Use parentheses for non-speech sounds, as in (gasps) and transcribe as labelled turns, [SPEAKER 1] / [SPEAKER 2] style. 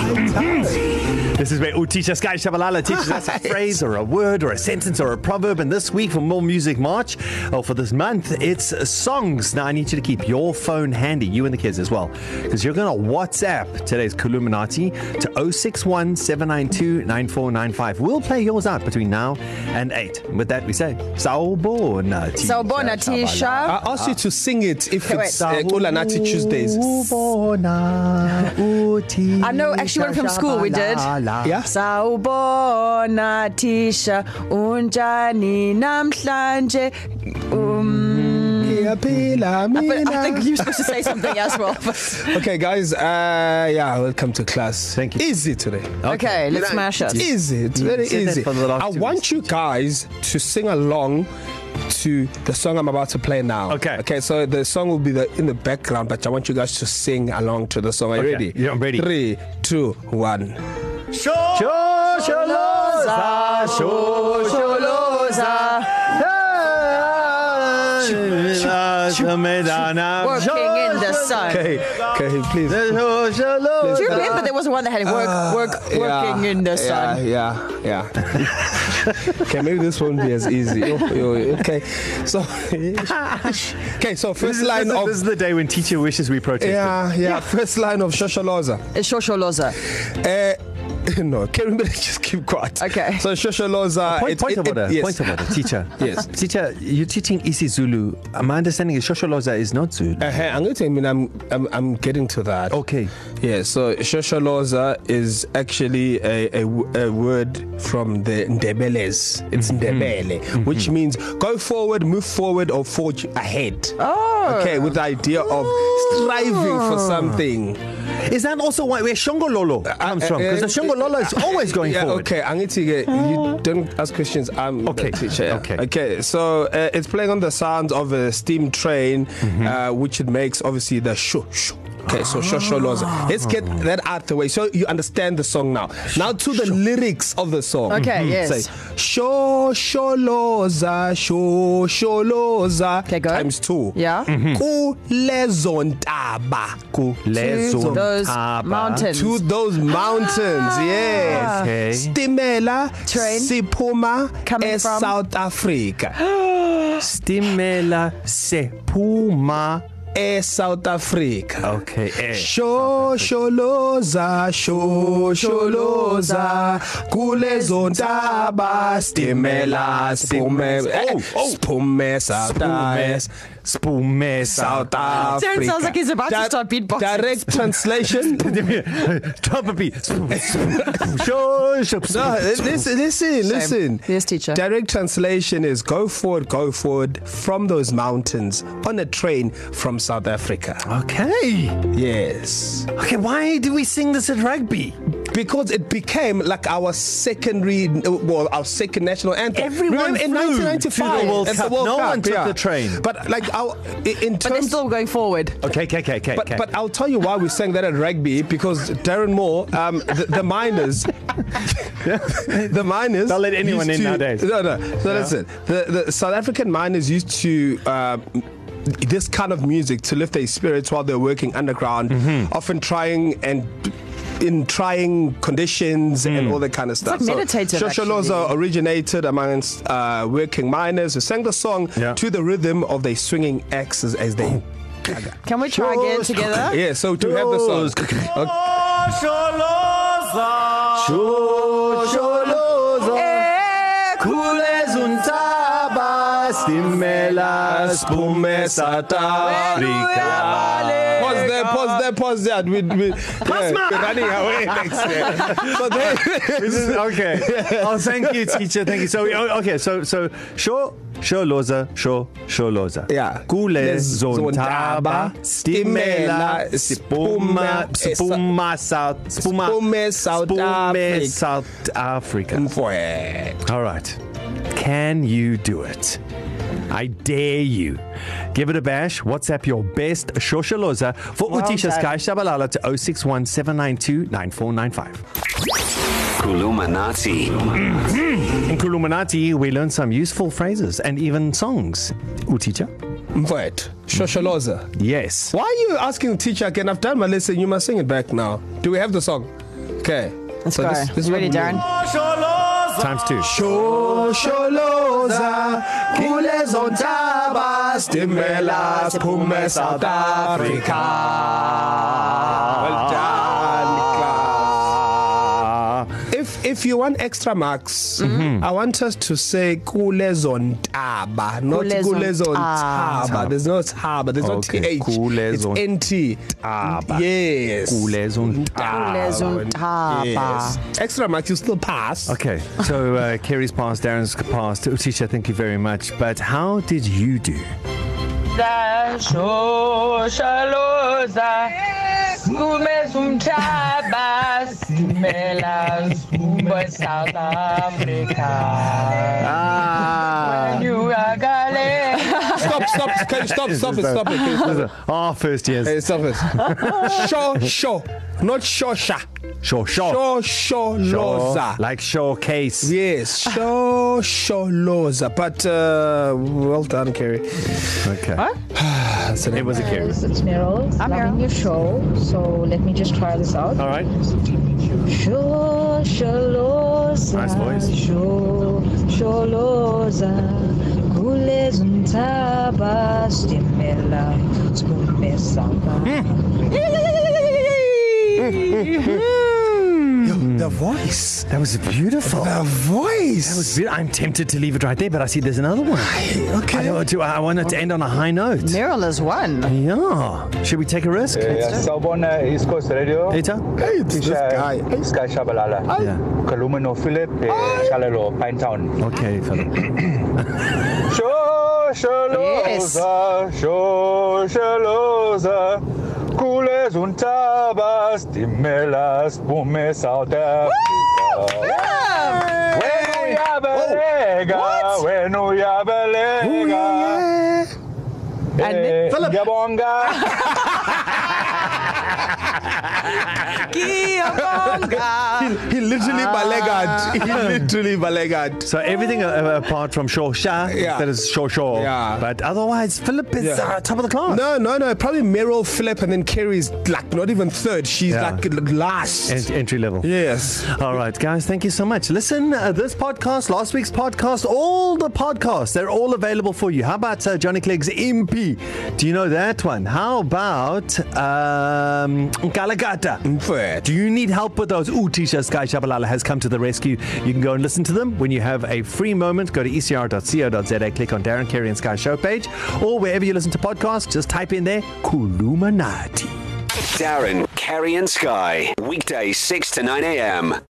[SPEAKER 1] Kulumanati.
[SPEAKER 2] This is where Utisha Sky Shabalala teaches us a phrase or a word or a sentence or a proverb. And this week for More Music March, or for this month, it's songs. Now, I need you to keep your phone handy, you and the kids as well, because you're going to WhatsApp today's Kuluminati to 061 792 9495. We'll play yours out between now and 8. And with that, we say, Saubona Tisha.
[SPEAKER 3] Sawubona, Tisha.
[SPEAKER 4] I asked you to sing it if
[SPEAKER 3] Wait.
[SPEAKER 4] it's uh, Kulanati Tuesdays.
[SPEAKER 2] I
[SPEAKER 3] I know, actually, when from school we did.
[SPEAKER 4] Ah, Yeah?
[SPEAKER 3] Sawubona Tisha unjani namhlanje um but
[SPEAKER 4] Ah.
[SPEAKER 3] I think you're supposed to say something as well.
[SPEAKER 4] (laughs)
[SPEAKER 3] But,
[SPEAKER 4] Okay, guys. Uh, yeah, welcome to class.
[SPEAKER 2] Thank you.
[SPEAKER 4] Easy today.
[SPEAKER 3] okay, okay, let's smash it.
[SPEAKER 4] Easy. It's very
[SPEAKER 2] said that
[SPEAKER 4] easy.
[SPEAKER 2] for the last
[SPEAKER 4] I
[SPEAKER 2] two
[SPEAKER 4] want you guys to sing along to the song I'm about to play now.
[SPEAKER 2] Okay.
[SPEAKER 4] Okay. So the song will be the, in the background, but I want you guys to sing along to the song. Are you
[SPEAKER 2] Okay.
[SPEAKER 4] ready?
[SPEAKER 2] Yeah, I'm ready.
[SPEAKER 4] Three, two, one.
[SPEAKER 2] Shosholoza, shosholoza. ah.
[SPEAKER 3] Working in the sun. Okay.
[SPEAKER 4] Okay. Okay. Please.
[SPEAKER 3] Do you
[SPEAKER 2] Shosholoza.
[SPEAKER 3] remember there was one that had work, work, working in the sun?
[SPEAKER 4] Ah, Yeah, yeah, yeah. (laughs) okay, maybe this won't be as easy. Oh, oh, okay, so (laughs) okay, so
[SPEAKER 2] This
[SPEAKER 4] first
[SPEAKER 2] is, this,
[SPEAKER 4] line
[SPEAKER 2] is,
[SPEAKER 4] of
[SPEAKER 2] this is the day when teacher wishes we protested.
[SPEAKER 4] yeah, yeah, first line of Shosholoza.
[SPEAKER 3] It's Shosholoza.
[SPEAKER 4] Uh, (laughs) no, can we (laughs) just keep quiet?
[SPEAKER 3] Okay.
[SPEAKER 4] So Shosholoza.
[SPEAKER 2] Point, point of order.
[SPEAKER 4] Yes.
[SPEAKER 2] Point of orord Teacher.
[SPEAKER 4] (laughs) Yes.
[SPEAKER 2] Teacher, you're teaching isiZulu. My understanding is Shosholoza is not Zulu.
[SPEAKER 4] Uh-huh, I'm going to. I mean, I'm, I'm. I'm getting to that.
[SPEAKER 2] Okay.
[SPEAKER 4] Yeah. So Shosholoza is actually a, a, w- a word from the Ndebeles. It's mm-hmm. Ndebele, mm-hmm. which means go forward, move forward, or forge ahead.
[SPEAKER 3] Oh.
[SPEAKER 4] Okay, with the idea of striving for something.
[SPEAKER 2] Is that also why, where Shongololo
[SPEAKER 4] Uh,
[SPEAKER 2] comes from? Because the Shongololo is always going
[SPEAKER 4] yeah,
[SPEAKER 2] forward.
[SPEAKER 4] Okay, Angitige,
[SPEAKER 3] Mm.
[SPEAKER 4] you don't ask questions. I'm
[SPEAKER 2] Okay,
[SPEAKER 4] the teacher. yeah.
[SPEAKER 2] okay.
[SPEAKER 4] Okay, so uh, it's playing on the sounds of a steam train, mm-hmm. uh, which it makes obviously the shoo shoo. Okay, so
[SPEAKER 2] Ah.
[SPEAKER 4] shosholoza. Let's get that out the way so you understand the song now. Now to the lyrics of the song. Mm-hmm.
[SPEAKER 3] Okay, Mhm. yes.
[SPEAKER 4] Say shosholoza, shosholoza.
[SPEAKER 3] Okay, go.
[SPEAKER 4] Times two.
[SPEAKER 3] Yeah. Mhm.
[SPEAKER 4] Kulezontaba.
[SPEAKER 2] Kulezo
[SPEAKER 3] Those
[SPEAKER 2] Ntaba.
[SPEAKER 3] mountains. Ah.
[SPEAKER 4] To those mountains, yes.
[SPEAKER 2] Okay.
[SPEAKER 4] Stimela
[SPEAKER 3] Train.
[SPEAKER 4] Sipuma
[SPEAKER 3] Coming
[SPEAKER 4] is
[SPEAKER 3] from?
[SPEAKER 4] South Africa. (gasps)
[SPEAKER 2] Stimela sepuma.
[SPEAKER 4] Air Eh, South Africa.
[SPEAKER 2] Okay. Eh.
[SPEAKER 4] Shosholoza, shosholoza, kulezo ntaba, stimela, spume,
[SPEAKER 2] Oh, oh.
[SPEAKER 4] spume, South Africa.
[SPEAKER 2] Spume.
[SPEAKER 4] South Africa.
[SPEAKER 3] Darren sounds like he's about to start beatboxing. (laughs)
[SPEAKER 4] Direct translation.
[SPEAKER 2] Drop a beat. Show, show,
[SPEAKER 4] No, eh, listen, listen, listen.
[SPEAKER 3] Yes, teacher.
[SPEAKER 4] Direct translation is go forward, go forward from those mountains on a train from South Africa.
[SPEAKER 2] Okay.
[SPEAKER 4] Yes.
[SPEAKER 2] Okay, why do we sing this at rugby?
[SPEAKER 4] Because it became like our secondary, uh, well, our second national anthem.
[SPEAKER 2] Everyone
[SPEAKER 4] Remember in
[SPEAKER 2] flew to the
[SPEAKER 4] 1995,
[SPEAKER 2] World
[SPEAKER 4] at
[SPEAKER 2] Cup. No one took the train.
[SPEAKER 4] But like our, i- in
[SPEAKER 3] But they're
[SPEAKER 4] terms
[SPEAKER 3] still going forward.
[SPEAKER 2] Okay, okay, okay, okay.
[SPEAKER 4] But,
[SPEAKER 2] okay.
[SPEAKER 4] okay. but I'll tell you why we sang that at rugby because Darren Moore, um, the, the miners, (laughs) the miners.
[SPEAKER 2] They'll let anyone
[SPEAKER 4] used
[SPEAKER 2] in
[SPEAKER 4] to,
[SPEAKER 2] nowadays.
[SPEAKER 4] No, no. So yeah. listen, the, the South African miners used to. Uh, this kind of music to lift their spirits while they're working underground, mm-hmm. often trying and in trying conditions mm. and all that kind of stuff.
[SPEAKER 3] like meditative,
[SPEAKER 4] Shosholoza originated amongst uh, working miners who sang the song
[SPEAKER 2] Yeah.
[SPEAKER 4] yeah. to the rhythm of their swinging axes as they oh.
[SPEAKER 3] Can we try again together?
[SPEAKER 4] Yeah, so to have the song.
[SPEAKER 2] Those- Oh
[SPEAKER 4] Okay.
[SPEAKER 2] Eh,
[SPEAKER 4] Pause there, pause there, pause there. We, we, yeah, we're running away next year. so they,
[SPEAKER 2] (laughs) This
[SPEAKER 4] (laughs)
[SPEAKER 2] is- okay. Oh, thank you, teacher. Thank you. So, oh, okay, so, so, show, show loza, show, show loza.
[SPEAKER 4] Yeah.
[SPEAKER 2] Kule
[SPEAKER 4] Lezontaba,
[SPEAKER 2] zontaba, stimela, spuma, spuma,
[SPEAKER 4] spuma,
[SPEAKER 2] south, spuma,
[SPEAKER 4] Spume South
[SPEAKER 2] spume,
[SPEAKER 4] Africa. Mm.
[SPEAKER 2] South Africa.
[SPEAKER 4] for it.
[SPEAKER 2] All right. Can you do it? I dare you. Give it a bash. WhatsApp your best Shoshaloza for well
[SPEAKER 3] Well
[SPEAKER 2] Utisha
[SPEAKER 3] done.
[SPEAKER 2] Sky Shabalala to 061 792 9495.
[SPEAKER 1] Kulumanati.
[SPEAKER 2] In Kuluminati, we learn some useful phrases and even songs. Uticha?
[SPEAKER 4] Mfwet, Shosholoza.
[SPEAKER 2] Yes.
[SPEAKER 4] Why are you asking the teacher again? I've done my lesson. You must sing it back now. Do we have the song? Okay.
[SPEAKER 3] Let's go. This, this Ready, Darren?
[SPEAKER 2] Times two.
[SPEAKER 4] Shosholoza, kulezo ntaba, stimela siphume South Africa. Well done, class. Ah. If if you want extra marks, mm-hmm. I want us to say kulezo ntaba, not
[SPEAKER 3] Kulezo
[SPEAKER 4] kulezo ntaba. There's no taba. There's no
[SPEAKER 2] Okay,
[SPEAKER 4] th.
[SPEAKER 2] kulezo
[SPEAKER 4] It's nt.
[SPEAKER 2] ntaba.
[SPEAKER 4] Yes.
[SPEAKER 2] Kulezo.
[SPEAKER 3] Kulezo ntaba.
[SPEAKER 4] Ah, Yes. Extra marks, you still pass.
[SPEAKER 2] Okay, so uh, Kerry's passed, Darren's passed. Utisha, thank you very much. But how did you do?
[SPEAKER 1] shoshaloza ngumezumthaba simela sibumbe south africa
[SPEAKER 2] Ah!
[SPEAKER 1] nyuakale
[SPEAKER 4] Stop, stop, can
[SPEAKER 2] (laughs)
[SPEAKER 4] you stop, stop it, stop it. Can you stop it?
[SPEAKER 2] Ah, first years.
[SPEAKER 4] Hey, stop it. Sho, sho, not shosha.
[SPEAKER 2] Sure, sure.
[SPEAKER 4] Sho, sho, loza.
[SPEAKER 2] Like showcase.
[SPEAKER 4] Yes, sho, sho, loza. But uh, well done, Kerry.
[SPEAKER 2] Okay. What? (sighs) it was a
[SPEAKER 5] (laughs)
[SPEAKER 2] Kerry.
[SPEAKER 5] This is Meryl. I'm
[SPEAKER 3] Meryl.
[SPEAKER 5] loving your show, so let me just try this out.
[SPEAKER 2] All right.
[SPEAKER 5] Sho- sholoza,
[SPEAKER 2] Nice voice.
[SPEAKER 5] sho- sholoza, kulezi mthaba, stimela, sikume samba.
[SPEAKER 2] Hmm.
[SPEAKER 4] The voice.
[SPEAKER 2] That was beautiful.
[SPEAKER 4] The voice. That
[SPEAKER 2] was be- I'm tempted to leave it right there, but I see there's another one. I,
[SPEAKER 4] okay.
[SPEAKER 2] don't want to, I want it to end on a high note.
[SPEAKER 3] Meryl has won.
[SPEAKER 2] Yeah. Should we take a risk?
[SPEAKER 6] Yeah, sawubona uh, East Coast Radio.
[SPEAKER 2] Eta?
[SPEAKER 4] Hey, it's this guy.
[SPEAKER 6] Sky, Sky Shabalala.
[SPEAKER 2] Yeah.
[SPEAKER 6] Kaluma no Philip, Shalalo, Pine Town.
[SPEAKER 2] Okay, fella.
[SPEAKER 6] Shoshaloza, Shoshaloza. Kule zuntaba, stimela, spume South Africa. Wenu uyabelega, wenu uyabelega.
[SPEAKER 3] And then-
[SPEAKER 6] Eh,
[SPEAKER 2] Philip.
[SPEAKER 6] Ngiyabonga.
[SPEAKER 4] He, he literally ah. balegat. He (laughs) literally balegat.
[SPEAKER 2] So everything uh, uh, apart from Shosha,
[SPEAKER 4] Yeah.
[SPEAKER 2] yeah. that is Shosho.
[SPEAKER 4] Yeah.
[SPEAKER 2] But otherwise, Philip is
[SPEAKER 4] Yeah.
[SPEAKER 2] yeah. uh, top of the class.
[SPEAKER 4] No, no, no. Probably Meryl, Philip, and then Kerry's like not even third. She's
[SPEAKER 2] Yeah.
[SPEAKER 4] yeah. like last.
[SPEAKER 2] Ent- entry level.
[SPEAKER 4] yes.
[SPEAKER 2] All right, guys, thank you so much. Listen, uh, this podcast, last week's podcast, all the podcasts, they're all available for you. How about uh, Johnny Clegg's MP? Do you know that one? How about um, Galagata?
[SPEAKER 4] Third.
[SPEAKER 2] Do you need help with those? Ooh, Tisha Sky Shabalala has come to the rescue. You can go and listen to them when you have a free moment. Go to E ecr.co.za, click on Darren Carey and Sky Show page, or wherever you listen to podcasts, just type in there Kulumanati.
[SPEAKER 7] Darren, Kerry, and Sky. Weekday 6 to 9 a.m.